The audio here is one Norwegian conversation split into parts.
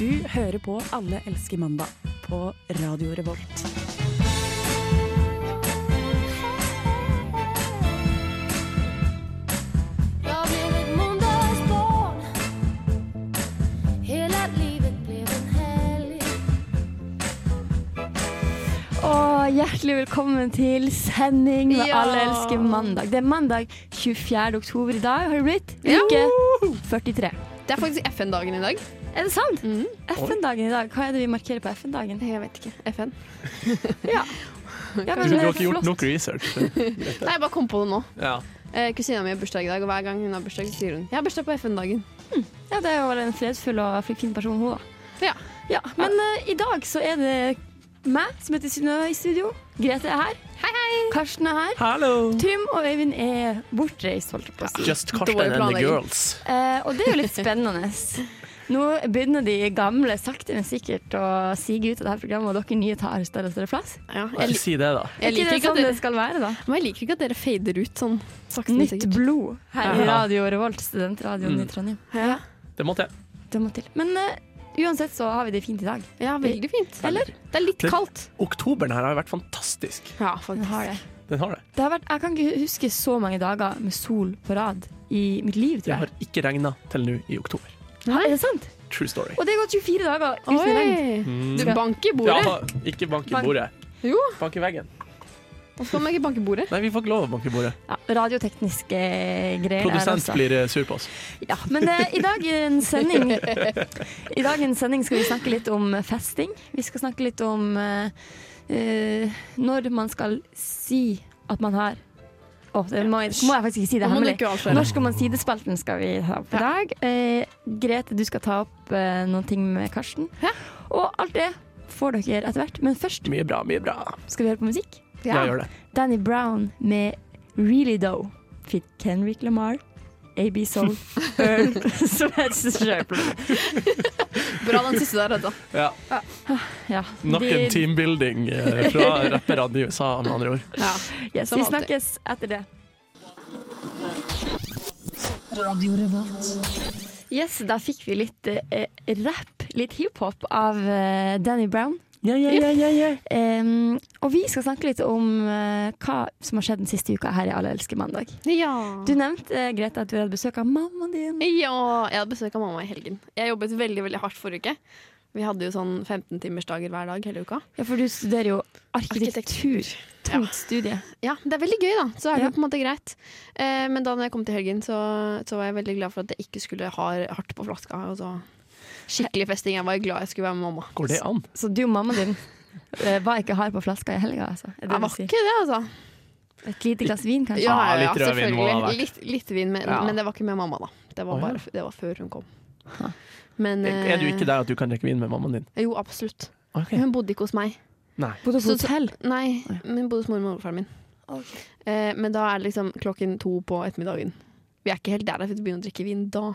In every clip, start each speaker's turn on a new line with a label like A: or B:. A: Du hører på Alle elsker mandag på Radio Revolt.
B: Jag blev ett måndagsbarn Hela livet blev en helg
C: Og hjertelig velkommen til sending med
D: Ja.
C: Alle elsker mandag. Det er mandag 24. oktober i dag, har det blitt? Uke 43.
D: Det er faktisk FN-dagen i dag.
C: Er det sant? FN-dagen i dag. Hva er det vi markerer på FN-dagen?
D: Jeg vet ikke. FN.
C: Ja,
E: Jeg tror
C: det
E: du
C: er
E: har ikke gjort
C: flott.
E: nok research.
D: Nei, jeg bare kom på det nå.
E: Ja.
D: Eh, Kusina mi har bursdag i dag, og hver gang hun har bursdag, så sier hun jeg har bursdag på FN-dagen.
C: Ja, det er jo en fredsfull og fin person, hun da.
D: Ja.
C: Ja, men eh, i dag så er det meg som heter Synnøve i studio. Grete er her. Hei, hei. Karsten er her.
E: Hallo!
C: Trym og Øyvind er bortreist, holdt jeg på å si.
E: Just
D: Dårlig
E: Karsten and the
D: planlegging.
E: girls.
C: Eh, og det er jo litt spennende. Nå begynner de gamle sakte, men sikkert å sige ut av dette programmet, og dere nye tar større og større plass.
D: Ja, jeg,
E: Ikke si det, da.
D: jeg, liker ikke
C: sånn
D: at
C: det
D: dere,
C: skal være, da?
D: men jeg liker ikke at dere fader ut sånn sakte, men
C: Nytt
D: sikkert.
C: blod her i
E: Ja.
C: Radio Revolt, studentradioen i
E: Mm.
C: Trondheim.
D: Ja.
E: Det måtte jeg.
C: Det må til. Men eh, uansett så har vi det fint i dag.
D: ja, veldig fint.
C: Eller?
D: Det er litt
E: Det-
D: kaldt.
E: Oktoberen her har vært fantastisk.
D: Ja,
C: Den
D: faktisk.
C: har det.
E: Den har det.
C: det har vært, jeg kan ikke huske så mange dager med sol på rad i mitt liv,
E: Det
C: tror jeg.
E: har ikke regna til nå i oktober.
C: Er det sant?
E: True story.
C: Og det har gått 24 dager uten regn.
D: Oi!
E: Mm.
D: Du
C: Ja.
D: banker i bordet.
E: Ja, ikke bank i
C: Bank.
E: bordet.
D: Jo.
E: Bank i veggen.
D: Hvorfor kan man ikke banke i bordet?
E: Nei, vi får ikke lov å banke i bordet.
C: Ja, radiotekniske greier. der,
E: Produsent
C: altså.
E: blir eh, sur på oss.
C: Ja, men eh, i, dagens sending, i dagens sending skal vi snakke litt om festing. Vi skal snakke litt om eh, eh, når man skal si at man har Å, det må, jeg- må jeg faktisk ikke si, det er
D: Nå må du
C: hemmelig.
D: ikke avsløre.
C: Når skal man si det? Spalten skal vi ta opp i dag. Eh, Grete, du skal ta opp eh, noen ting med Karsten.
D: Ja.
C: Og alt det får dere etter hvert. Men først
E: Mye bra, mye bra.
C: skal vi høre på musikk.
E: Ja, gjør det.
C: Danny Brown med Really Dough Fit Kendrick Lamar, AB Soul, Earl Sweats Sharpler.
D: Bra den siste der, Hedda.
E: Ja.
C: Ja,
E: Nok en teambuilding eh, fra rapperne i USA, med andre ord.
D: Ja.
C: Yes,
D: Som
C: vi
D: alltid.
C: snakkes etter det. Yes, da fikk vi litt eh, rap, litt hiphop av eh, Danny Brown.
E: Ja, ja, ja, ja, ja.
C: Em, og vi skal snakke litt om eh, hva som har skjedd den siste uka her i Alle elsker mandag.
D: Ja.
C: Du nevnte, eh, Grete, at du hadde besøk av mammaen din.
D: ja. Jeg hadde besøk av mamma i helgen. Jeg jobbet veldig veldig hardt forrige uke. Vi hadde jo sånn 15-timersdager hver dag hele uka.
C: Ja, for du studerer jo arkitektur. Tungt studie.
D: Ja, det er veldig gøy, da. Så er det
C: Ja.
D: på en måte greit. Eh, men da når jeg kom til helgen, så, så var jeg veldig glad for at jeg ikke skulle ha hardt på flaska. Og så skikkelig festing. Jeg var glad jeg skulle være med mamma.
E: Går det an?
C: Så du og mammaen din eh, var ikke hard på flaska i helga, altså? Er det det
D: Jeg
C: du
D: var
C: sier?
D: ikke det, altså.
C: Et lite glass vin, kanskje?
D: Ja,
E: Ah,
D: ja,
E: litt rødvin må det ha vært.
D: selvfølgelig. Litt, litt vin, men,
E: Ja.
D: men det var ikke med mamma, da. Det
E: Å,
D: var,
E: ja.
D: bare, det var før hun kom. Men
E: Er du ikke
D: det?
E: der at du kan drikke vin med mammaen din?
D: Jo, absolutt.
E: Ok.
D: Hun bodde ikke hos meg.
E: Nei.
C: Bodde på
D: Så- så-
C: hotell?
D: Nei,
C: Å, ja.
D: men hun bodde hos mormor og morfaren min.
C: Ok.
D: Eh, men da er det liksom klokken to på ettermiddagen. Vi er ikke helt der at vi begynner å drikke vin da.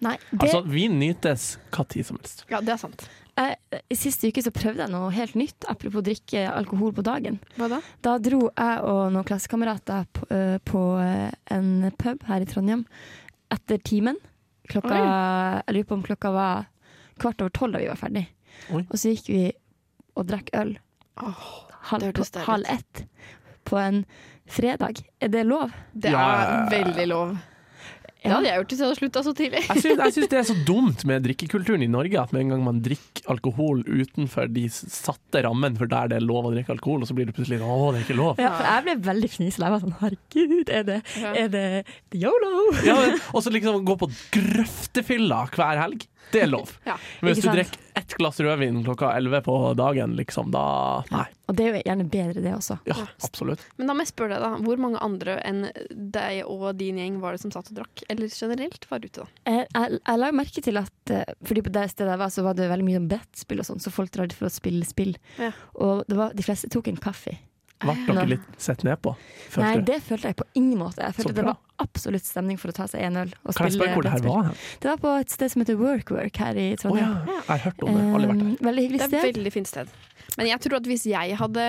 C: Nei. Det,
E: Altså, vin nytes hva tid som helst.
D: Ja, det er sant.
C: eh, siste uke så prøvde jeg noe helt nytt, apropos drikke alkohol på dagen.
D: Hva da?
C: Da dro jeg og noen klassekamerater på, eh, på eh, en pub her i Trondheim etter timen. Klokka, jeg lurer på om klokka var kvart over tolv da vi var ferdig.
E: Oi.
C: Og så gikk vi og drakk øl halv,
D: Det
C: på,
D: hørtes deilig ut.
C: halv ett på en fredag. Er det lov?
D: Det
E: Ja,
D: er
E: ja, ja.
D: veldig lov. Det hadde jeg gjort hvis jeg hadde slutta så tidlig.
E: Jeg syns, jeg syns det er så dumt med drikkekulturen i Norge, at med en gang man drikker alkohol utenfor de satte rammene for der det er lov å drikke alkohol, og så blir det plutselig sånn, å, det er ikke lov.
C: Ja, for jeg ble veldig fniselig. Jeg var sånn herregud, er det,
D: Ja.
C: er det yolo?
E: Ja, men- og så liksom gå på grøftefylla hver helg, det er lov.
D: Ja,
E: Men
C: ikke
E: hvis du
C: sant?
E: drikker ett glass rødvin klokka elleve på dagen, liksom, da Nei.
C: Og det er jo gjerne bedre, det også.
E: Ja, absolutt.
D: Men da må jeg spørre deg, da. Hvor mange andre enn deg og din gjeng var det som satt og drakk? Eller generelt var ute, da?
C: Jeg, Eh, jeg, jeg la merke til at eh, Fordi på det stedet jeg var, så var det veldig mye om brettspill og sånn, så folk drar dit for å spille spill.
D: Ja.
C: Og det var, de fleste tok en kaffe.
E: Ble
C: Nei.
E: dere litt sett ned på? følte
C: Nei,
E: dere?
C: det følte jeg på ingen måte. Jeg
E: Så
C: følte det
E: bra.
C: var absolutt stemning for å ta seg en øl og
E: Kan jeg
C: spille
E: spørre hvor det her
C: brettspill.
E: var hen?
C: Det var på et sted som heter Workwork her i
E: Å ja,
C: Trondheim.
E: jeg har hørt om det. Aldri vært der.
C: Eh, veldig hyggelig
D: Det er
C: sted.
D: et veldig fint sted. Men jeg tror at hvis jeg hadde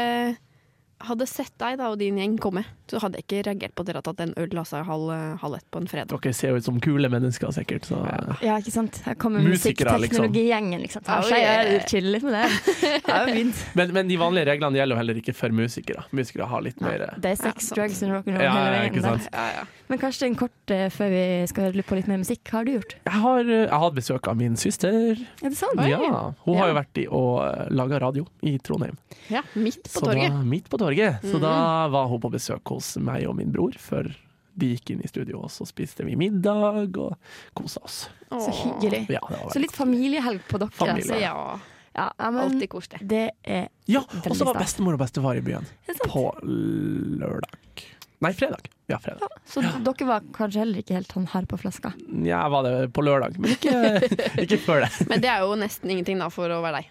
D: hadde sett deg da og din gjeng komme, så hadde jeg ikke reagert på at dere hadde tatt en øl altså, halv, halv ett på en fredag.
E: Dere ser jo ut som kule mennesker, sikkert. Så.
C: Eh. Ja, ikke sant? Her kommer
E: Musikere, liksom.
C: musikkteknologigjengen. Liksom. Tar
D: Oh,
C: seg
D: yeah.
C: jeg chiller litt med det. Det er jo fint.
E: Men, men de vanlige reglene gjelder jo heller ikke for musikere. Musikere har litt mer eh,
C: Det er sex,
D: sant.
C: drugs and rock'n'roll
E: Ja,
C: hele
E: ja,
C: veien.
E: ikke
C: der.
E: sant.
D: Ja, ja.
C: Men Karsten, kort eh, før vi skal høre litt på litt mer musikk, hva har du gjort?
E: Jeg har, eh, jeg har hatt besøk av min søster.
C: Er det sant?
E: Ja, hun
D: Ja.
E: har jo vært i og laga radio i Trondheim.
D: Ja, midt på
E: Så
C: Sånn,
D: torget.
E: Da, midt på torget.
C: Mhm.
E: Så da var hun på besøk hos meg og min bror før de gikk inn i studio, og så spiste vi middag og kosa oss.
C: Så hyggelig.
E: Ja, det var
C: Så litt familiehelg på dere.
E: Familie.
C: altså. Ja,
D: Ja,
C: ja, men
D: alltid koselig.
C: det er
E: ja, og så var
C: veldig stas.
E: bestemor og bestefar i byen
C: Er det sant?
E: på lørdag. Nei, fredag. Ja, fredag.
C: Så dere var kanskje heller ikke helt sånn hard på flaska?
E: Ja, var det på lørdag, men ikke, ikke før det.
D: Men det er jo nesten ingenting da for å være deg.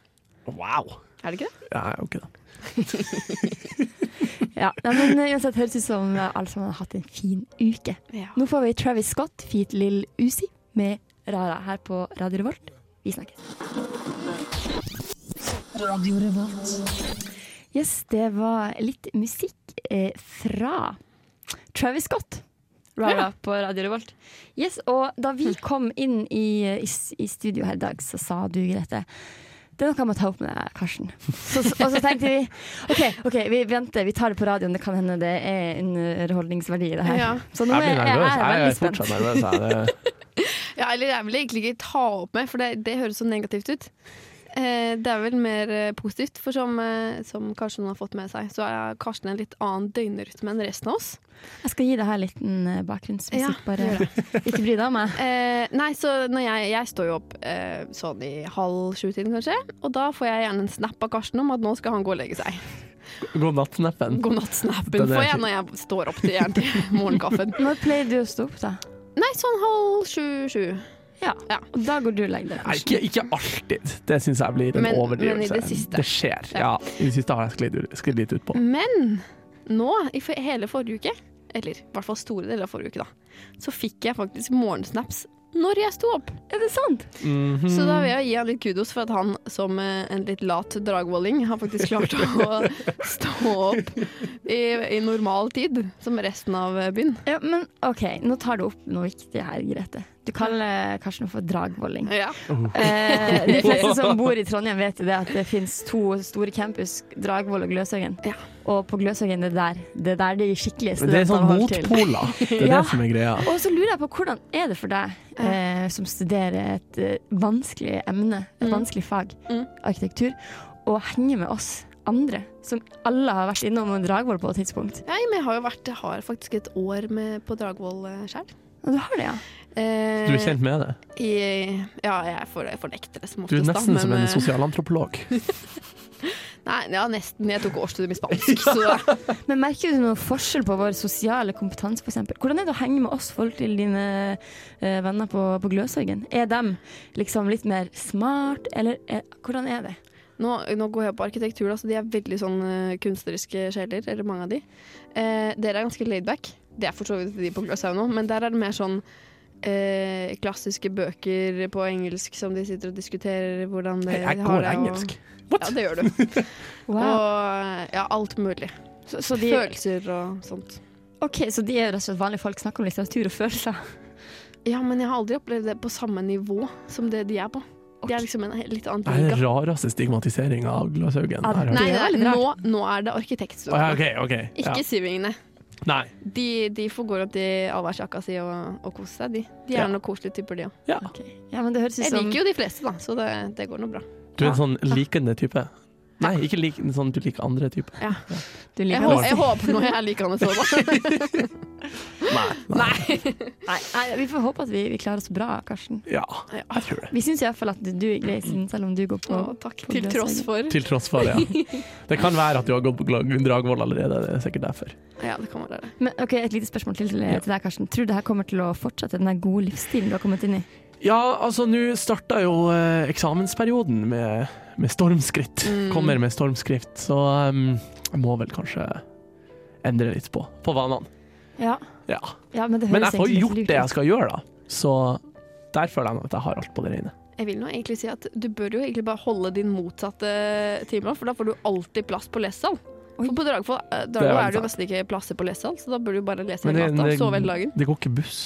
E: Wow!
D: Er det ikke det?
E: Ja, ok da.
C: Ja, nei, men eh, uansett høres ut som eh, alle sammen har hatt en fin uke.
D: Ja.
C: Nå får vi Travis Scott, Feet Lill Uzi med Rara her på Radio Revolt. Vi snakkes. Yes, det var litt musikk eh, fra Travis Scott. Rara på Radio Revolt. Yes, og da vi kom inn i, eh, i, s- i studio her i dag, så sa du, Grete det er noe jeg må ta opp med deg, Karsten. Så, så- og så tenkte vi OK, ok, vi venter, vi tar det på radioen. Det kan hende det er en underholdningsverdi i det her.
D: Ja.
C: Så nå
E: Jeg blir
C: er, jeg
E: nervøs.
C: er
E: Jeg
C: veldig
E: er
C: spent.
E: fortsatt nervøs. jeg. Det-
D: Ja, eller jeg vil egentlig ikke ta opp med, for det, det høres så negativt ut. Eh, det er vel mer eh, positivt, for som, eh, som Karsten har fått med seg, så er Karsten en litt annen døgnrytme enn resten av oss.
C: Jeg skal gi deg her litt eh,
D: Ja,
C: bakgrunnsmusikk, bare. Ikke bry deg om meg.
D: Eh, nei, så når jeg, jeg står jo opp eh, sånn i halv sju-tiden kanskje, og da får jeg gjerne en snap av Karsten om at nå skal han gå og legge seg.
E: God natt-neppen.
D: God natt-snappen
E: Mm. Den er
D: får jeg
E: fin.
D: når jeg står opp til, gjerne til morgenkaffen.
C: Når pleier du å stå opp, da?
D: Nei, sånn halv sju-sju.
C: Ja.
D: Ja.
C: Og da går du og legger
E: Nei,
C: deg.
E: ikke, ikke alltid. Det syns jeg blir en
D: Men-
E: overdrivelse.
D: men i det siste.
E: skjer.
D: Ja.
E: Ja. I det siste har jeg sklidd, sklidd litt ut på.
D: Men nå, i f- hele forrige uke, eller i hvert fall store deler av forrige uke, da, så fikk jeg faktisk morgensnaps når jeg sto opp.
C: Er det sant?
D: Så da vil jeg gi han litt kudos for at han som eh, en litt lat dragvolling har faktisk klart å stå opp i, i normal tid, som resten av eh, byen.
C: Ja, men OK, nå tar du opp noe viktig her, Grete. Du kaller Karsten for dragvolling.
D: Ja.
C: Eh, de fleste som bor i Trondheim vet jo det at det finnes to store campus, Dragvoll og Gløshaugen.
D: Ja.
C: Og på Gløshaugen, det er der det er der de skikkelige
E: Det
C: studentene
E: er sånn
C: holder til.
E: motpoler. Det er
C: Ja.
E: det som er greia.
C: Og så lurer jeg på hvordan er det for deg eh, som studerer et eh, vanskelig emne, et vanskelig fag,
D: Mm.
C: arkitektur, å henge med oss andre, som alle har vært innom en Dragvoll på et tidspunkt.
D: Nei, men jeg har jo vært, jeg har faktisk et år med, på Dragvoll eh, sjøl.
C: Og du har det, ja.
E: Du er kjent med det.
D: I, ja, jeg er for- jeg fornekter det som
E: Du
D: oftest.
E: er
D: da,
E: nesten
D: men,
E: som en
D: eh,
E: sosialantropolog.
D: Nei, ja, nesten. Jeg tok årsstudium i spansk, så
C: Men merker du noen forskjell på vår sosiale kompetanse, f.eks.? Hvordan er det å henge med oss folk til dine eh, venner på, på Gløshaugen? Er de liksom litt mer smart, eller er, hvordan er det?
D: nå, nå går jeg på arkitektur, da, så de er veldig sånn eh, kunstneriske sjeler, eller mange av de. Eh, dere er ganske laidback. Det er for så vidt de på Gløshaug nå, men der er det mer sånn eh, klassiske bøker på engelsk som de sitter og diskuterer hvordan det
E: Jeg
D: har
E: går
D: det, og-
E: engelsk.
D: Ja, det gjør du.
C: Wow.
D: Og ja, alt mulig.
C: Så, så, de,
D: Følelser og sånt.
C: ok, så de er rett og slett vanlige folk, snakker om litteratur og følelser.
D: Ja, men jeg har aldri opplevd det på samme nivå som det de er på. De er liksom en he- litt annen
E: Det er den
D: liga.
E: rareste stigmatiseringa av Glashaugen.
C: Ja,
E: jeg har hørt.
D: Nei,
C: Det er
D: nei,
C: veldig
D: nå, nå er det arkitektstudentene.
E: Å, ja, ok, ok. Ja.
D: Ikke syvingene.
E: Nei.
D: De, de får gå opp i allværsjakka si og, og kose seg, de. De er
E: Ja.
D: noen koselige typer, de òg.
E: Ja.
C: Ja, men det høres ut
D: Jeg
C: som
D: liker jo de fleste, da, så det, det går nå bra.
E: Du er en sånn likende type. Nei, ikke lik, en sånn du liker andre type.
C: du
D: Jeg,
C: liker
D: hå-
C: oss.
D: jeg håper nå jeg liker han så da. Nei.
C: Nei, nei, vi får håpe at vi, vi klarer oss bra, Karsten.
E: Ja, jeg tror det.
C: Vi syns iallfall at du er grei, siden selv om du går på
D: Å, takk. Til tross for.
E: Til tross for, ja. Det kan være at du har gått på Gla- Dragvoll allerede, det er sikkert derfor.
D: Ja, det kan være det.
C: Men ok, Et lite spørsmål til, til deg, Karsten. Tror du det her kommer til å fortsette den der gode livsstilen du har kommet inn i?
E: Ja, altså nå starta jo eh, eksamensperioden med, med stormskritt.
C: Mm.
E: Kommer med stormskritt, så um, jeg må vel kanskje endre litt på, på vanene.
C: Ja,
E: Ja.
C: ja men det
E: Men
C: høres
E: jeg får
C: egentlig litt
E: jo gjort
C: lurt
E: det
C: ut.
E: jeg skal gjøre, da. Så der føler jeg nå at jeg har alt på det rene.
D: Jeg vil nå egentlig si at du bør jo egentlig bare holde din motsatte time, for da får du alltid plass på lesesal.
C: Oi.
D: For på Dragvoll eh,
E: Det er
D: Dragvoll
E: veldig
D: er det jo
E: sant.
D: nesten ikke plasser på lesesal, så da burde du bare lese
E: Men
D: hele
E: det-
D: natta.
E: det-
D: Sove hele dagen.
E: Det går ikke buss.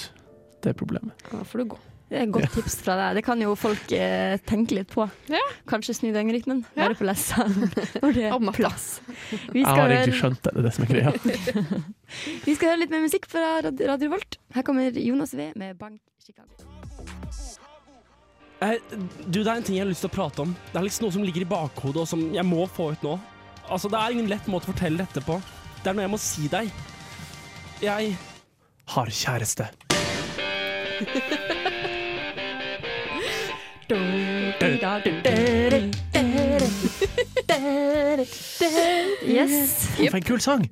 E: Det er problemet.
D: Da får du gå.
C: Det er et godt tips fra deg. Det kan jo folk eh, tenke litt på.
D: Ja.
C: Kanskje snu den rytmen.
D: Ja.
C: Være på lesesalen når det
D: Om
C: er
D: natta.
C: plass. Vi
E: Jeg har
C: skal,
E: egentlig
C: høre,
E: skjønt det, det er det som er greia.
C: vi skal høre litt mer musikk fra Rad- Radio Volt. Her kommer Jonas V med Bank Chicago.
F: Eh, Du, det er en ting jeg har lyst til å prate om. Det er liksom noe som ligger i bakhodet, og som jeg må få ut nå. Altså, det er ingen lett måte å fortelle dette på. Det er noe jeg må si deg. Jeg
E: Har kjæreste.
C: Yes.
E: For en kul sang!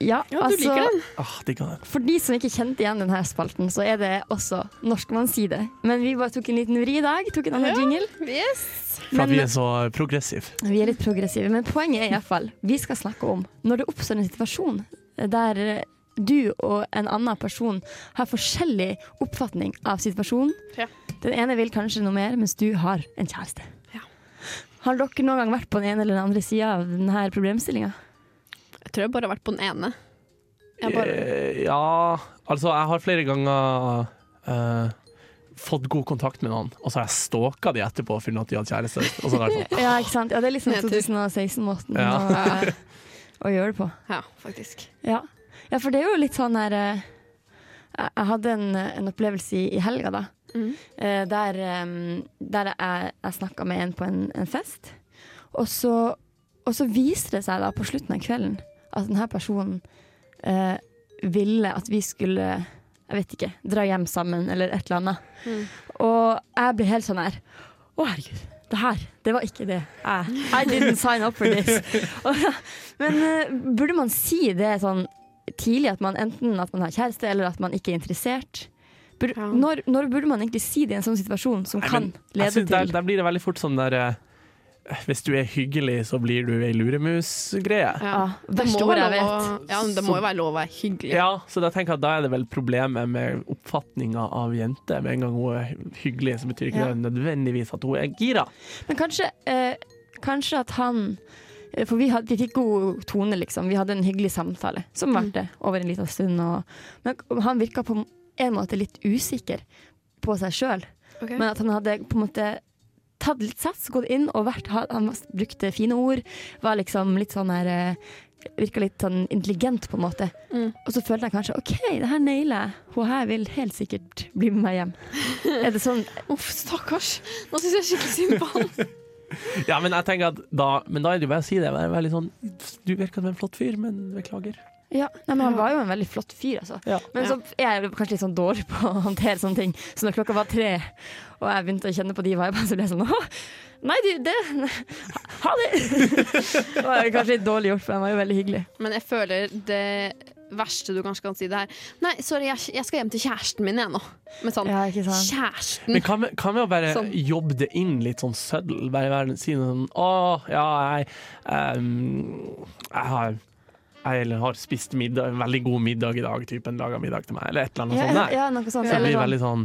C: Ja, altså-
D: Ja, du liker den.
E: Ah, digga den.
C: For de som ikke kjente igjen denne spalten, så er det også Norsk man sier det. Men vi bare tok en liten vri i dag. Tok en annen jingle.
D: Yes.
E: For at vi
C: Men-
E: er så progressive.
C: Vi er litt progressive, men poenget er iallfall vi skal snakke om når det oppstår en situasjon der du og en annen person har forskjellig oppfatning av situasjonen.
D: Ja.
C: Den ene vil kanskje noe mer, mens du har en kjæreste.
D: Ja.
C: Har dere noen gang vært på den ene eller den andre sida av denne problemstillinga?
D: Jeg tror jeg bare har vært på den ene. Jeg bare,
E: Eh, Ja, altså, jeg har flere ganger eh, fått god kontakt med noen, og så har jeg stalka de etterpå og funnet at de hadde kjæreste. Og så har jeg vært sånn,
C: Ja, ikke sant? Ja, det er litt sånn
D: Nedtur.
C: 2016-måten
E: Ja.
C: å, eh, å gjøre det på.
D: ja, faktisk.
C: Ja. ja, for det er jo litt sånn her eh, Jeg jeg hadde en, en opplevelse i, i helga, da.
D: Mhm.
C: Eh, Der, eh, der jeg, jeg snakka med en på en, en fest. Og så, og så viser det seg da på slutten av kvelden at denne personen eh, ville at vi skulle jeg vet ikke, dra hjem sammen eller et eller annet.
D: Mhm.
C: Og jeg ble helt sånn her Å, herregud. Det her, det var ikke det. Jeg, I didn't sign up for this. Og, men eh, burde man si det sånn tidlig, at man enten at man har kjæreste, eller at man ikke er interessert? Burde,
D: Ja.
C: når, når burde man egentlig si det i en sånn situasjon som
E: Nei,
C: kan
E: men jeg
C: lede
E: synes der,
C: til
E: der blir det veldig fort sånn der eh, Hvis du er hyggelig, så blir du ei luremus-greie.
D: Ja.
C: ja,
D: Det
C: Ah, verste
D: må
C: ordet jeg
D: være
C: vet?
D: lov å- Ja, men det må jo være lov å være hyggelig.
E: Ja, så da tenker jeg at da er det vel problemet med oppfatninga av jenter. Med en gang hun er hyggelig, så betyr ikke
C: Ja.
E: det nødvendigvis at hun er gira.
C: Men kanskje, eh, kanskje at han eh, For vi, hadde, vi fikk god tone, liksom. Vi hadde en hyggelig samtale, som varte over en liten stund. Og, men han virka på en måte litt usikker på seg sjøl.
D: Ok.
C: Men at han hadde på en måte tatt litt sats, gått inn og vært ha- Han var- brukte fine ord. Var liksom litt sånn her eh, Virka litt sånn intelligent, på en måte.
D: Mm.
C: Og så følte jeg kanskje OK, det her nailer jeg. Hun her vil helt sikkert bli med meg hjem. Er det sånn
D: Uff, stakkars. Nå syns jeg skikkelig synd på han.
E: Ja, men jeg tenker at da Men da er det jo bare å si det. Være veldig sånn Du virker som en flott fyr, men beklager.
C: Ja, nei, men Han var jo en veldig flott fyr, altså.
E: Ja.
C: Men så er jeg kanskje litt sånn dårlig på å håndtere sånne ting. Så når klokka var tre, og jeg begynte å kjenne på de vibene, så ble jeg sånn Åh, Nei, du, det Ha det! det var kanskje litt dårlig gjort, for han var jo veldig hyggelig.
D: Men jeg føler det verste du kanskje kan si, det er Nei, sorry, jeg, jeg skal hjem til kjæresten min, jeg nå. Men sånn
C: Ja, ikke sant?
D: Kjæresten!
E: Men hva med, hva med å bare
D: Sånn.
E: jobbe det inn litt sånn søddel? Bare være, si noe sånn Å, ja, jeg ehm, Jeg har jeg eller har spist middag, en veldig god middag i dag, typen laga middag til meg, eller et eller annet
C: Ja,
E: sånt. Nei.
C: ja, noe sånt.
E: Så det
C: Eller
E: blir
C: sånn.
E: veldig sånn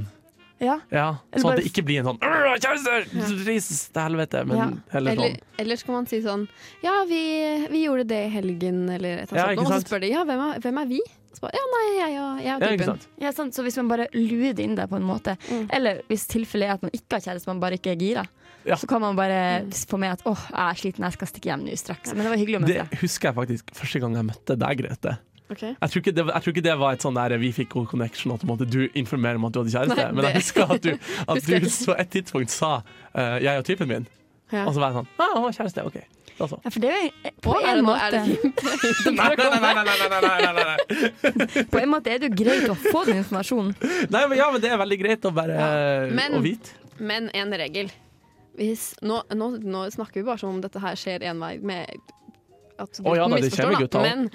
C: Ja,
E: Ja,
C: Eller
E: sånn
C: bare-
E: at det ikke blir en sånn «Åh, Kjæreste! Ris til helvete! Men
C: Ja.
E: heller
D: Eller,
E: sånn.
D: eller skal man si sånn Ja, vi, vi gjorde det i helgen, eller et eller
E: Ja,
D: annet. sånt.
E: ikke
D: Og
E: sant?
D: så spør de ja, hvem er, hvem er vi? Og Så bare, ja, nei, jeg og jeg og
E: Ja, ikke
D: typen.
E: sant?
C: ja, sant. Så hvis man bare lurer det inn der på en måte,
D: Mm.
C: eller hvis tilfellet er at man ikke har kjæreste, man bare ikke er gira,
E: Ja.
C: så kan man bare få med at åh, jeg er sliten, jeg skal stikke hjem nå straks. Men det var hyggelig å møte
E: Det
C: deg.
E: husker jeg faktisk første gang jeg møtte deg, Grete.
D: Ok.
E: Jeg tror ikke det, jeg tror ikke det var et sånn der vi fikk god connection, at på en måte du informerer om at du hadde kjæreste.
D: Nei,
E: men jeg
D: det-
E: husker at du, at
D: husker jeg
E: du
D: ikke.
E: så et tidspunkt sa eh, 'jeg og typen min',
D: Ja.
E: og så var jeg sånn 'Å, han har kjæreste', OK. Da så.
C: Ja, for det er jo på
D: Å, er
C: en
D: det noe-
C: måte
D: er det
E: Nei, nei, nei, nei, nei, nei, nei, nei, nei.
C: På en måte er det jo greit å få den informasjonen.
E: nei men, ja, men det er veldig greit å bare eh,
D: Men-
E: å vite.
D: Men en regel. Hvis, nå, nå, nå snakker vi bare som om dette her skjer en vei med at gutten
E: Å ja da, det
D: misforstår,
E: kommer
D: da.
E: gutta også.
D: Men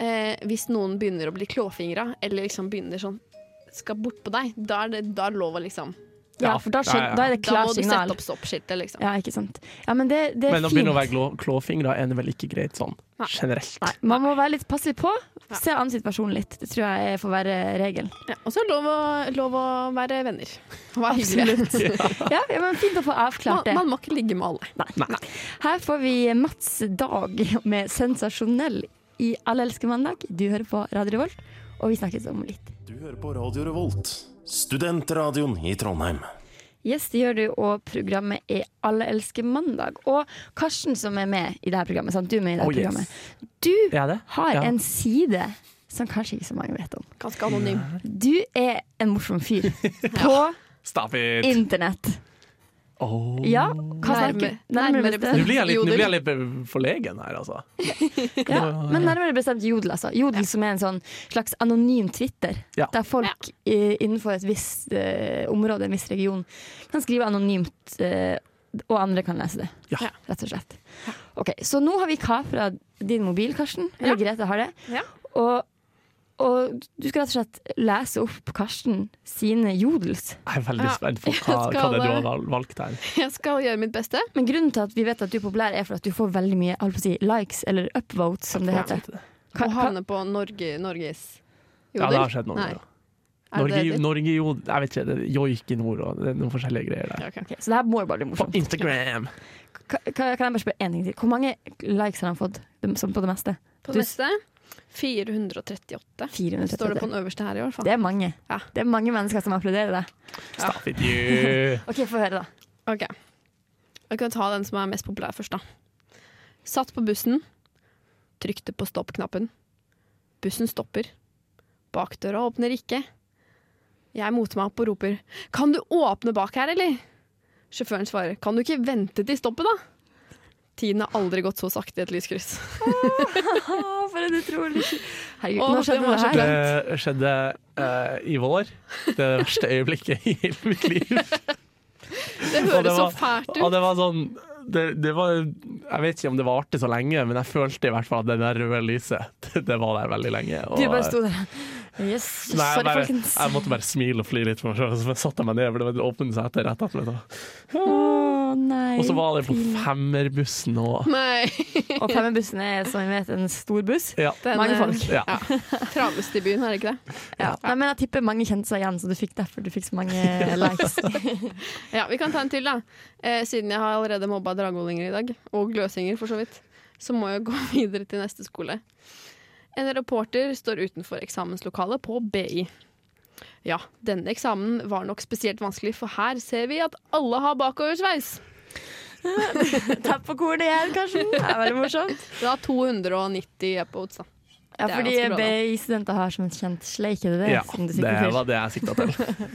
D: eh, hvis noen begynner å bli klåfingra, eller liksom begynner sånn skal bort på deg, da er det da er det lov å liksom
C: Ja,
E: Ja,
C: for da,
E: ja,
C: skjøn-
E: ja.
C: da er det
D: Da må
C: klart
D: du sette
C: signal.
D: opp stoppskiltet, liksom.
C: Ja, ikke sant. Ja, men det, det er
E: Men å
C: fint.
E: begynne å være glå, klåfingre er vel ikke greit sånn
D: Nei.
E: generelt.
C: Nei, man må være litt passiv på. Se an situasjonen litt. Det tror jeg er- får være regelen.
D: Ja, og så er det lov, å- lov å være venner. Vær hyggelig.
C: Ja, ja, men fint å få avklart
D: Man,
C: det.
D: man må ikke ligge med alle.
C: Her får vi Mats Dag med 'Sensasjonell' i Alle elsker mandag. Du hører på Radio Revolt, og vi snakkes om litt.
G: Du hører på Radio Revolt, studentradioen i Trondheim.
C: Yes, det gjør du, og programmet er Alle elsker mandag. Og Karsten som er med i dette programmet, sant? du er med i dette
E: Oh, yes.
C: programmet. Du
E: Er det?
C: har
E: Ja.
C: en side som kanskje ikke så mange vet om.
D: Ganske anonym.
C: Du er en morsom fyr på
E: Stop it!
C: internett.
E: Oh.
C: Ja, hva snakker
D: Nærme-
C: Nærmere
D: nærmere
E: Nå
C: bestemt.
E: blir jeg litt,
D: Jodel.
E: nå blir jeg litt eh, forlegen her, altså.
C: Ja, men nærmere bestemt Jodel, altså. Jodel som er en sånn slags anonym Twitter,
E: Ja.
C: der folk i- innenfor et visst eh, område, en viss region, kan skrive anonymt, eh, og andre kan lese det.
E: Ja.
C: Rett og slett. Ok, Så nå har vi kapra din mobil, Karsten. Eller Grete har det.
D: Ja.
C: Og, og du skal rett og slett lese opp Karsten sine jodels.
E: Jeg er veldig
D: Ja.
E: spent på hva,
D: Jeg
E: hva
D: skal,
E: det er du
D: eh,
E: har val- valgt her.
D: Jeg skal gjøre mitt beste.
C: Men grunnen til at vi vet at du er populær, er for at du får veldig mye jeg holdt på å si, likes, eller upvotes, som det heter.
D: Å
C: Ka- ka-
D: havne på Norge, Norges
E: Ja, det har skjedd noe.
D: Nei.
E: ja.
D: Er det
E: Norge,
D: det heter?
E: Norge jo, jeg vet ikke, det er joik i nord og det er noen forskjellige greier der.
D: Ja, ok.
C: Ok, så det her må jo bare bli
E: På
C: morsomt.
E: Instagram!
C: Ka- ka- Kan jeg bare spørre en ting til? Hvor mange likes har han fått dem- som på det meste?
D: På
C: Du-
D: neste 438. Står det
C: 430.
D: på den øverste her i hvert fall.
C: Det er mange.
D: Ja.
C: Det er mange mennesker som applauderer deg.
E: Stop it, you!
C: OK, få høre, da.
D: Ok. Jeg kan ta den som er mest populær først, da. Satt på bussen. Trykte på stopp-knappen. Bussen stopper. Bakdøra åpner ikke. Jeg moter meg opp og roper 'Kan du åpne bak her, eller?' Sjåføren svarer 'Kan du ikke vente til stoppet, da?' Tiden har aldri gått så sakte i et lyskryss.
C: Å, for en utrolig Herregud,
D: Å,
C: nå
D: det
C: skjedde
D: var
C: det
D: så
C: her.
D: bra.
E: Det skjedde eh, i vår. Det er det verste øyeblikket i hele mitt liv.
D: Det
E: Og det
D: høres så
E: var-
D: fælt
E: Og
D: ut.
E: det var sånn det, det var, Jeg vet ikke om det varte så lenge, men jeg følte i hvert fall at det der røde lyset det, det var der veldig lenge. Og, eh,
C: Du bare sto der. Yes.
E: Nei, jeg,
C: Sorry,
E: bare,
C: folkens.
E: jeg måtte bare smile og flire litt for meg sjøl, så jeg satte meg ned. For det åpnet seg etter rett etter meg.
C: Å, nei.
E: Og så var det på femmerbussen og
D: Nei.
C: Og Femmerbussen er, som vi vet, en stor buss.
E: ja.
D: Den,
C: Mange
D: eh,
C: folk.
E: Ja.
D: Travlest i byen, er det ikke det?
C: Ja. Nei, men jeg tipper mange kjente seg igjen, så du fikk derfor du fikk så mange likes.
D: Ja, Vi kan ta en til, da. Eh, siden jeg har allerede mobba dragollinger i dag, og gløsinger for så vidt, så må jeg gå videre til neste skole. En reporter står utenfor eksamenslokalet på BI. Ja, denne eksamen var nok spesielt vanskelig, for her ser vi at alle har bakoversveis.
C: Tapp på kornet igjen, Karsten. Det er veldig morsomt.
D: Det var 290 upvotes, da.
C: Ja,
D: Det er
C: fordi
D: ganske bra, da.
C: BI-studenter har som et kjent sleik, er det det?
E: ja.
C: som du
E: Det
C: sikter til?
E: var det jeg sikta til.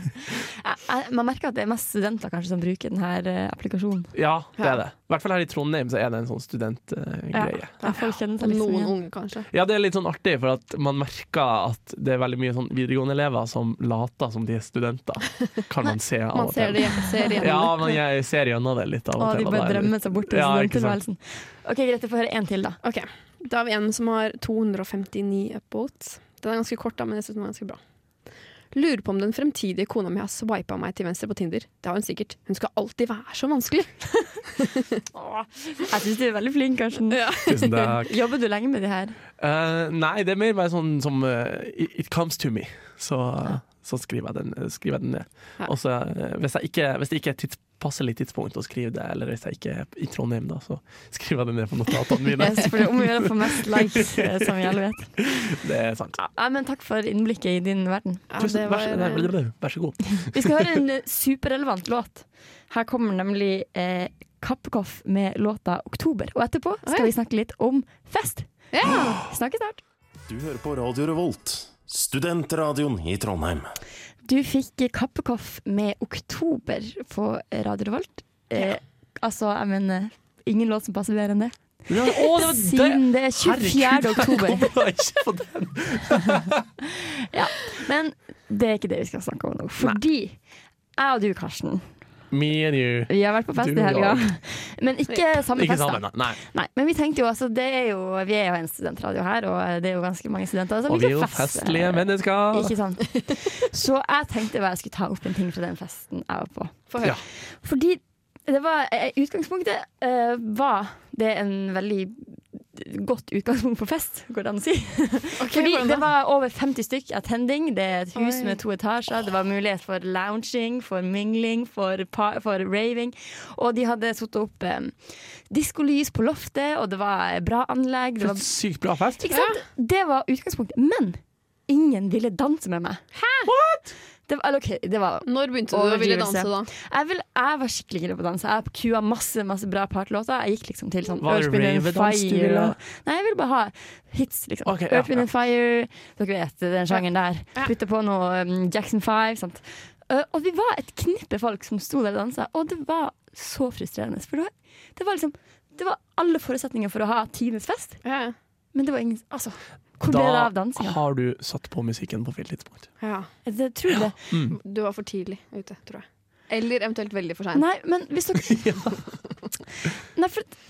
C: Jeg- jeg- Man merker at det er mest studenter kanskje som bruker denne applikasjonen.
E: Ja, det er det. I hvert fall her i Trondheim så er det en sånn studentgreie.
C: Ja, folk kjenner seg
D: Og
C: liksom
D: noen
C: igjen.
D: unge, kanskje.
E: Ja, det er litt sånn artig, for at man merker at det er veldig mye sånn videregående-elever som later som de er studenter. Kan man se av
D: Man
E: og
D: ser
E: til.
D: det ser igjen.
E: Ja, men jeg ser gjennom det litt av og
C: Å, de
E: til. og
C: bare
E: da er det-
C: drømmer seg bort i
E: Ja, ikke
C: studenttilværelsen. liksom. Ok, Grete, få høre en til, da.
D: Ok, Da har vi en som har 259 upvotes. Den er ganske kort, da, men jeg synes den er ganske bra. Lurer på om den fremtidige kona mi har swipa meg til venstre på Tinder. Det har hun sikkert. Hun skal alltid være så vanskelig.
C: Jeg syns du er veldig flink, Karsten.
E: Tusen takk.
C: Jobber du lenge med de her?
E: Eh, nei, det er mer bare sånn som eh, It it comes to me. Så, så skriver, jeg den, eh, skriver jeg den ned.
D: Ja.
E: Og så eh, hvis, jeg ikke- hvis det ikke er et tids- passelig tidspunkt å skrive det, eller hvis jeg ikke er i Trondheim, da, så skriver jeg det ned på notatene mine.
C: Yes, for det er om å gjøre å få mest likes, eh, som vi alle vet.
E: Det er sant.
C: Nei, men Takk for innblikket i din verden.
E: Tusen, vær, så- nei,
D: eh,
E: blablabla. vær så god.
C: Vi skal høre en eh, superrelevant låt. Her kommer nemlig eh, Kappekoff med låta 'Oktober'. Og etterpå skal vi
D: Oi.
C: snakke litt om fest.
D: ja.
C: Vi snakkes snart.
G: Du hører på Radio Revolt, studentradioen i Trondheim.
C: Du fikk Kappekoff med 'Oktober' på Radio Revolt. Eh, altså, jeg mener Ingen låt som passer bedre enn det.
E: Ja, å, det var
C: Siden det er 24. oktober.
E: Kom da ikke på den.
C: Men det er ikke det vi skal snakke om nå. Fordi jeg og du, Karsten,
E: Me and you.
C: Vi har vært på fest i
E: Du og
C: helga. Men ikke samme
E: Ikke
C: fest, da.
E: sammen, nei. nei.
C: Nei, men vi tenkte jo altså, det er jo, vi er jo en studentradio her, og det er jo ganske mange studenter. Så
E: Og vi er jo
C: kan feste.
E: festlige mennesker.
C: Ikke sant? Så jeg tenkte bare jeg skulle ta opp en ting fra den festen jeg var på.
D: Få høre.
E: Ja.
C: Fordi det var, eh, utgangspunktet eh, var det en veldig godt utgangspunkt på fest, går det an å si. Fordi det var over 50 stykk attending, det er et hus
D: Oi.
C: med to etasjer, det var mulighet for lounging, for mingling, for, pa- for raving. Og de hadde satt opp eh, diskolys på loftet, og det var bra anlegg. Det
E: For
C: var
E: et sykt bra fest.
C: ikke sant? Det var utgangspunktet. Men ingen ville danse med meg. Hæ? Det var, eller ok, det var
D: Når begynte du å ville danse, da?
C: jeg, vil, jeg var skikkelig gira på å danse. Jeg kua masse masse bra partylåter. Jeg gikk liksom til sånn
E: Var det
C: Earth, Wind and
E: ravedans du ville ha?
C: og- Nei, jeg ville bare ha hits, liksom.
E: Ok, ja,
C: Earth, Wind
E: ja.
C: and Fire, dere vet den sjangeren der. Putte på noe um, Jackson 5. Sant? Eh, og vi var et knippe folk som sto der og dansa, og det var så frustrerende. For det var, det var liksom Det var alle forutsetninger for å ha tidenes fest,
D: Ja, ja.
C: men det var ingen Altså, hvor ble det
E: Da
C: av dansinga?
E: har du satt på musikken på feil tidspunkt.
D: ja.
C: Jeg tror det.
E: Mm.
D: Du var for tidlig ute, tror jeg. Eller eventuelt veldig for seint.
C: Nei, men hvis dere Nei, for at-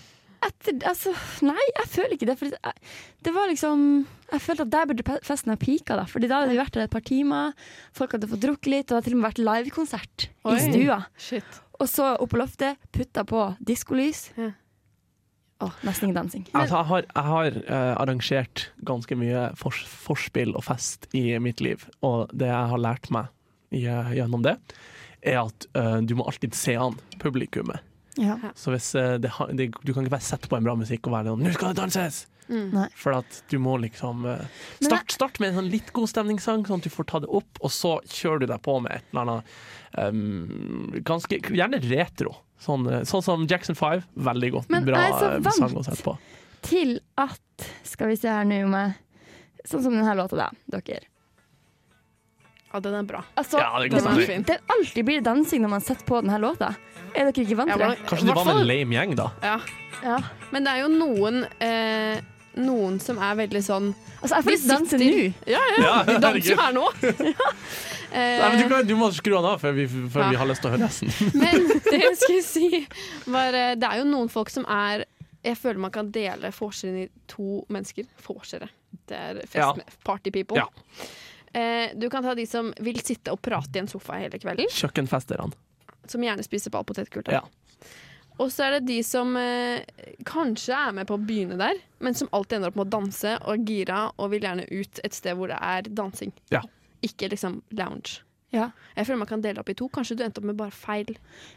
C: etter, altså, nei, jeg føler ikke det. For at jeg, det var liksom Jeg følte at der burde pe- festen ha pika, da. Fordi da hadde vi vært der et par timer, folk hadde fått drukket litt, og det hadde til og med vært livekonsert i
D: Oi.
C: stua.
D: Shit.
C: Og så opp på loftet, putta på diskolys.
D: Ja.
C: Å, nesten ingen dansing.
E: Altså, jeg har, jeg har eh, arrangert ganske mye fors forspill og fest i mitt liv, og det jeg har lært meg i, gjennom det, er at eh, du må alltid se an publikummet.
C: Ja.
E: Så hvis, eh, det, har- det, du kan ikke bare sette på en bra musikk og være sånn 'Nå skal det danses!'
D: Mm.
C: Nei.
E: For at du må liksom eh,
C: Men
E: start, start med en sånn litt god stemningssang, sånn at du får ta det opp, og så kjører du deg på med et eller annet eh, ganske, Gjerne retro. Sånn, eh, sånn som Jackson 5. Veldig godt.
C: Men
E: bra
C: jeg er så
E: eh,
C: vant.
E: sang å sette på.
C: Til at Skal vi se her nå om jeg Sånn som denne låta, da, dere.
D: Ja, den er bra.
C: Altså,
E: Ja, det er
C: det,
E: god
D: Den er
E: stemning.
D: fin.
C: det alltid blir dansing når man setter på denne låta. Er dere ikke vant
D: Ja,
C: til det?
D: hvordan-
E: Kanskje de var med en
D: Hvertfall-
E: lame gjeng, da.
D: Ja.
C: Ja.
D: Men det er jo noen eh, Noen som er veldig sånn
C: Altså, jeg får
D: De
C: lyst til å danse
D: sitter-
C: nå.
D: Ja, ja, vi danser jo
E: herregud.
D: her nå!
E: Nei, men du,
D: Eh,
E: kan, du må skru han av før vi, før
D: Ja.
E: vi har lyst til å høre resten.
D: men det jeg skulle si, var eh, Det er jo noen folk som er Jeg føler man kan dele vorseren i to mennesker. Vorsere. Det er
E: Ja.
D: fest med party people.
E: Ja.
D: Eh, du kan ta de som vil sitte og prate i en sofa hele kvelden.
E: Kjøkkenfesterne.
D: Som gjerne spiser ball potetgull.
E: Ja.
D: Og så er det de som eh, kanskje er med på å begynne der, men som alltid ender opp med å danse og er gira og vil gjerne ut et sted hvor det er dansing.
E: Ja.
D: Ikke liksom lounge.
C: Ja.
D: Jeg føler man kan dele opp i to. Kanskje du endte opp med bare feil,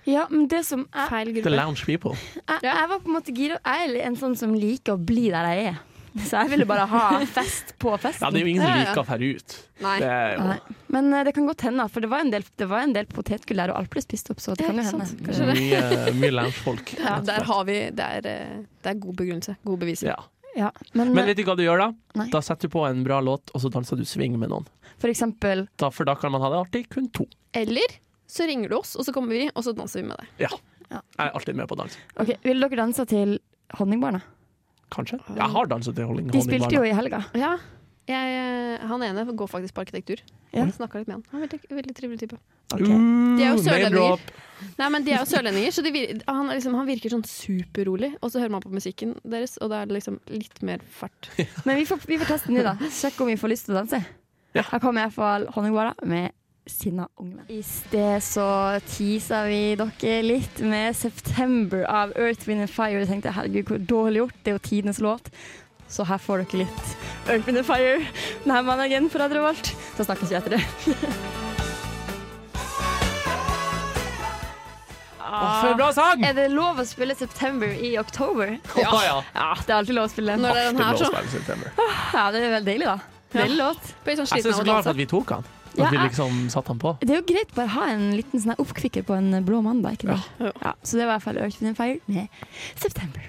C: Ja, men det som jeg,
D: feil
E: The
D: gruppe.
E: lounge people.
C: jeg, jeg var på en måte gira. Jeg er en sånn som liker å bli der jeg er. Så jeg ville bare ha fest på
E: Ja, det er
C: festen.
E: jo ingen som
D: Ja, ja.
E: liker å fære ut.
D: Nei.
E: Det er jo
C: Nei. Men eh, det kan godt hende, for det var en del, det var en del potetgull der, og alt ble spist opp, så det
D: Ja,
C: kan jo
D: ikke
C: hende.
D: sant.
C: Kanskje-
D: det.
E: mye, mye lounge-folk.
D: Ja, der har vi Det er, eh, det er god begrunnelse. Gode beviser.
E: Ja.
C: Ja. Men, eh,
E: Men vet du hva du gjør da?
C: Nei.
E: Da setter du på en bra låt, og så danser du swing med noen.
C: eh, for eksempel
E: Da, for da kan man ha det artig. Kun to.
D: Eller så ringer du oss, og så kommer vi, og så danser vi med deg.
E: Ja.
C: Ja.
E: Jeg er alltid med på dans.
C: Ok, Ville dere danse til Honningbarna?
E: Kanskje. Jeg har danset til Holding
C: De spilte jo i helga.
D: Ja. Jeg, eh, han ene går faktisk på arkitektur.
C: Ja.
D: Jeg Snakka litt med han. Han er veldig, veldig trivelig type.
E: De
D: De er jo sørlendinger. Nei, men De er jo sørlendinger, så de vir han, er liksom, han virker sånn superrolig. Og så hører man på musikken deres, og da er det liksom litt mer fart.
C: Men vi får, vi får teste den nå, da. Sjekk om vi får lyst til å danse.
E: Ja.
C: Her kommer iallfall Honningbarna med sinna unge menn. I sted så teasa vi dere litt med 'September' av Earth, Wind and Fire. Jeg tenkte herregud, hvor dårlig gjort. Det er jo tidenes låt. Så her får dere litt Earth, Wind and Fire denne mandagen på Radio Revolt. Så snakkes vi etter det.
E: For en bra sang!
C: Er det lov å spille 'September' i oktober?
E: Ja. Å, ja.
C: Ja, Ah, det er alltid lov å spille.
D: Når det er den her, så
E: Jeg
C: Ja, det er veldig deilig, da. Deilig låt.
D: blir jeg sånn sliten
E: synes
D: av
E: så
D: å
E: glad
D: danse.
E: for at vi tok han.
C: Ja,
E: At vi
C: jeg-
E: liksom satte han på.
C: Det er jo greit bare ha en liten sånn her oppkvikker på en blå mandag, ikke det? Ja. så det var i hvert fall Earth, Wind and Fire med September.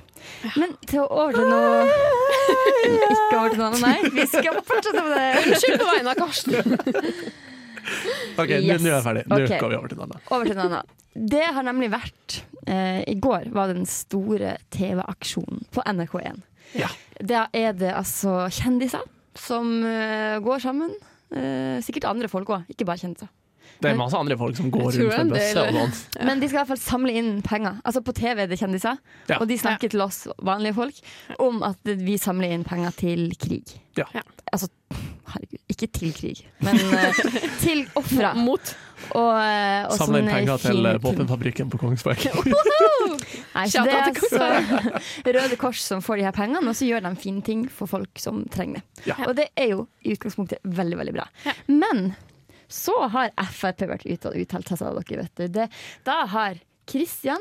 C: Men til å over til noe Ikke over til noe annet, nei. Vi skal fortsette med det.
D: Unnskyld på vegne av Karsten.
E: Ok, nå-
C: Yes.
E: Nå er jeg ferdig. Nå
C: Ok.
E: går vi over til den. da.
C: Over til noe annet. Det har nemlig vært eh, I går var den store TV-aksjonen på NRK1.
E: Ja.
C: Da er det altså kjendiser som eh, går sammen. Eh, sikkert andre folk òg, ikke bare kjendiser.
E: Det er masse andre folk som går
D: Jeg tror
E: rundt med
D: det er en
E: bøsse
D: del-
E: og sånn.
C: Men de skal i hvert fall samle inn penger. Altså På TV er det kjendiser,
E: Ja.
C: og de snakker til oss vanlige folk om at vi samler inn penger til krig.
E: Ja.
D: Ja.
C: Altså, herregud, ikke til krig, men eh, til ofra.
D: Mot.
C: Og, eh, og
E: Samle inn
C: sånne
E: penger til
C: fine
E: eh, våpenfabrikken på Kongsberg.
C: Nei, så det er altså Røde Kors som får de her pengene, og så gjør de fine ting for folk som trenger det.
E: Ja.
C: Og det er jo i utgangspunktet veldig, veldig bra. Men så har Frp vært ute og uttalt seg, sa dere, vet du. Det, da har Kristian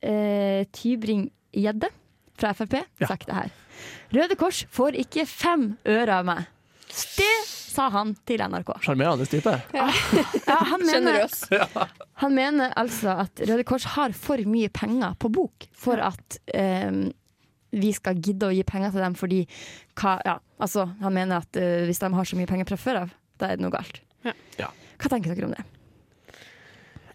C: eh, Tybring-Gjedde fra Frp
E: Ja.
C: sagt det her. Røde Kors får ikke fem øre av meg. Det sa han til NRK.
E: Sjarmerende type.
C: Ja, han mener
D: Generøs.
C: han mener altså at Røde Kors har for mye penger på bok for at eh, vi skal gidde å gi penger til dem fordi hva, ja, altså, Han mener at eh, hvis de har så mye penger fra før av, da er det noe galt.
D: Ja.
E: Ja.
C: Hva tenker dere om det?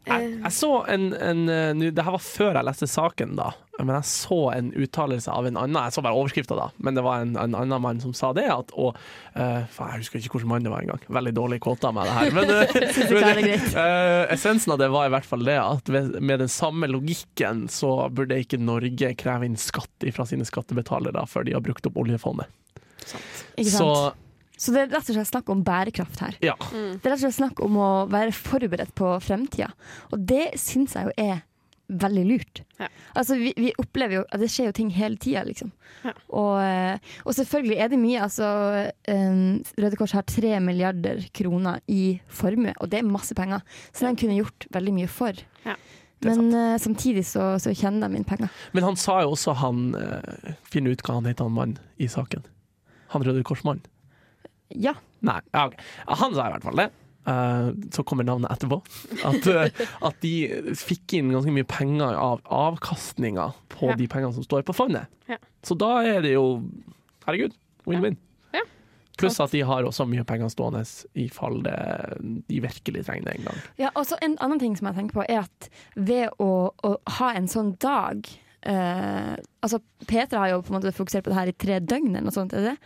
C: Eh.
E: Jeg, jeg så en, en eh, nå- Det her var før jeg leste saken, da. Men jeg så en uttalelse av en annen Jeg så bare overskrifta, da. Men det var en, en annen mann som sa det. At, og, eh, faen, jeg husker ikke hvilken mann det var engang. Veldig dårlig kåta med det her. Men, eh,
C: ikke det er
E: men, eh, essensen av det var i hvert fall det at ved, med den samme logikken så burde ikke Norge kreve inn skatt fra sine skattebetalere før de har brukt opp oljefondet.
C: Ikke
E: Så
C: sant? Mm. Så, det er rett og slett snakk om bærekraft her.
E: ja.
C: Det er rett og slett snakk om å være forberedt på fremtida, og det syns jeg jo er veldig lurt.
D: Ja.
C: Altså, vi, vi opplever jo at det skjer jo ting hele tida, liksom.
D: Ja.
C: Og, eh, og selvfølgelig er det mye. Altså, eh, Røde Kors har tre milliarder kroner i formue, og det er masse penger. Så de kunne gjort veldig mye for.
D: Ja,
E: er
C: Men eh, samtidig så, så kjenner de inn penger.
E: Men han sa jo også han eh, Finn ut hva han heter, han mannen i saken. Han Røde Kors-mannen.
C: Ja.
E: Nei, ja, ok. Han sa i hvert fall det. Eh, så kommer navnet etterpå. At, eh, at de fikk inn ganske mye penger av avkastninga på
D: Ja.
E: de pengene som står på fondet.
D: Ja.
E: Så da er det jo Herregud, win-win.
D: Ja. Ja.
E: Pluss at de har også mye penger stående i fall det, de virkelig trenger det en gang.
C: Ja, og så En annen ting som jeg tenker på, er at ved å, å ha en sånn dag eh, Altså Petra har jo på en måte fokusert på det her i tre døgn, eller noe sånt. er det?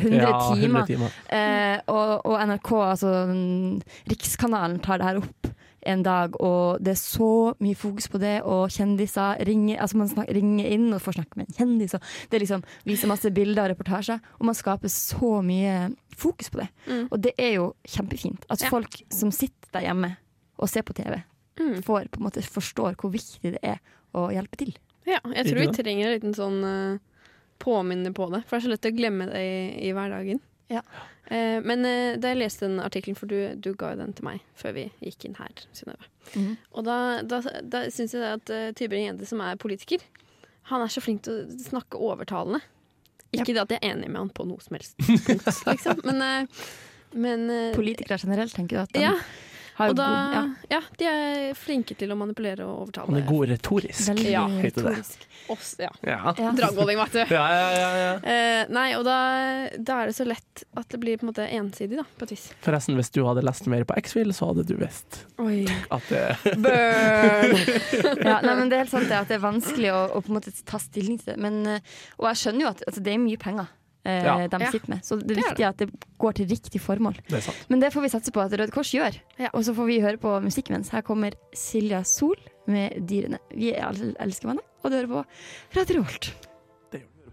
C: 100
E: Ja, 100
C: timer.
E: timer.
C: Eh, og, og NRK, altså mm, Rikskanalen, tar det her opp en dag, og det er så mye fokus på det, og kjendiser ringer altså Man snak, ringer inn og får snakke med en kjendis, og det liksom viser masse bilder og reportasjer, og man skaper så mye fokus på det.
D: Mm.
C: Og det er jo kjempefint at folk som sitter der hjemme og ser på TV,
D: Mm.
C: får, på en måte forstår hvor viktig det er å hjelpe til.
D: Ja, jeg tror
E: Ikke
D: vi trenger en liten sånn eh, påminner på det, for det er så lett å glemme det i, i hverdagen.
C: Ja.
D: Eh, men eh, da jeg leste den artikkelen, for du, du ga jo den til meg før vi gikk inn her, Synnøve.
C: Mhm.
D: Og da, da, da syns jeg at uh, Tybring-Gjedde, som er politiker, han er så flink til å snakke overtalende. Ikke det at jeg er enig med han på noe som helst punkt, liksom, men, eh, men eh,
C: Politikere generelt, tenker du at de
D: Ja,
C: har
D: og
C: jo
D: da,
C: god ja,
D: ja, de er flinke til å manipulere og overtale.
E: Han er god retorisk.
C: veldig
D: Ja,
E: heter det.
C: retorisk.
D: Oss, ja.
E: Ja.
C: Ja.
D: Dragvolding, vet du.
E: Ja, ja, ja, ja.
D: Eh, nei, og da, da er det så lett at det blir på en måte ensidig, da, på et vis.
E: Forresten, hvis du hadde lest mer på X-Fill, så hadde du visst
D: Oi.
E: at det
C: Ja, nei, men det er helt sant det at det er vanskelig å, å på en måte ta stilling til det. Men, eh, og jeg skjønner jo at altså, det er mye penger eh,
E: Ja.
C: de
D: Ja.
C: sitter med, så det
D: Det
C: er
D: er
C: viktig at det går til riktig formål.
E: Det er sant.
C: Men det får vi satse på at Røde Kors gjør.
D: Ja.
C: Og så får vi høre på musikk mens. Her kommer Silja Sol med 'Dyrene'. Vi er alle elskerne, og du hører på Radio Rolt.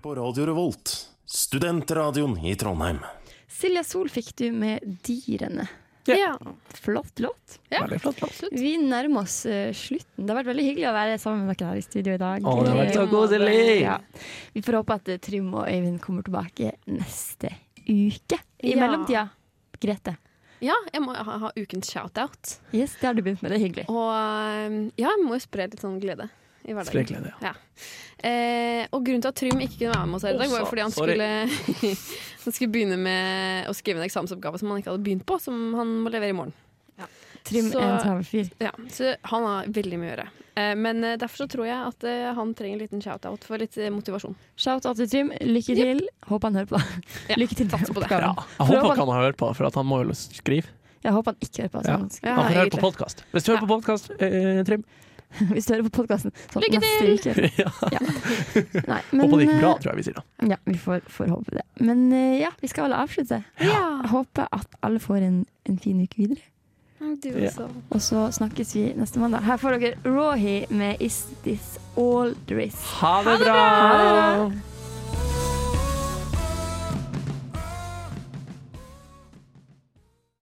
G: På Radio Revolt, studentradioen i Trondheim.
C: Silja Sol fikk du med 'Dyrene'.
D: Ja.
C: Flott låt.
D: Ja.
E: Veldig flott låt.
D: Absolutt.
C: Vi nærmer oss eh, slutten. Det har vært veldig hyggelig å være sammen med dere her i studio i dag.
E: Å, det har vært så koselig!
C: Ja. Vi får håpe at eh, Trym og Øyvind kommer tilbake neste uke. I
D: Ja.
C: mellomtida, Grete.
D: Ja, jeg må ha, ha ukens shout-out.
C: Yes, det har du begynt med. Det er hyggelig.
D: Og eh, ja, jeg må jo spre litt sånn glede i
E: Spre
D: hverdagen.
E: glede, ja.
D: Eh, og grunnen til at Trym ikke kunne være med oss her i dag, var jo fordi han
E: Sorry.
D: skulle, han skulle begynne med å skrive en eksamensoppgave som han ikke hadde begynt på, som han må levere i morgen.
C: Trym
D: Så-
C: er en travel fyr.
D: Ja, så han har veldig mye å gjøre. Eh, men eh, derfor så tror jeg at eh, han trenger en liten shout-out for litt eh, motivasjon.
C: Shout out til Trym. Lykke til. Håper han hører på.
D: Ja,
C: Lykke til med
D: satser på det.
E: Ja.
C: oppgaven.
E: Jeg håper ikke han har hørt på, for at han må jo skrive.
C: Jeg håper han ikke hører på.
E: Ja.
C: Sånn.
D: Ja,
E: Han får høre på
D: egentlig.
E: podkast. Hvis du hører på podkast, eh, Trym
C: Hvis du hører på podkasten. Sånn,
D: Lykke
C: neste uke.
E: ja.
C: Nei,
E: Håper det gikk
C: men,
E: bra,
C: eh,
E: tror jeg vi sier da.
C: Ja, vi får, får håpe det. Men eh, ja, vi skal vel avslutte.
D: Ja.
C: Jeg håper at alle får en, en fin uke videre.
D: Du
E: Ja.
D: også.
C: Og så snakkes vi neste mandag. Her får dere Rawhi med Is This All There Is.
E: Ha det bra!
C: Ha det bra!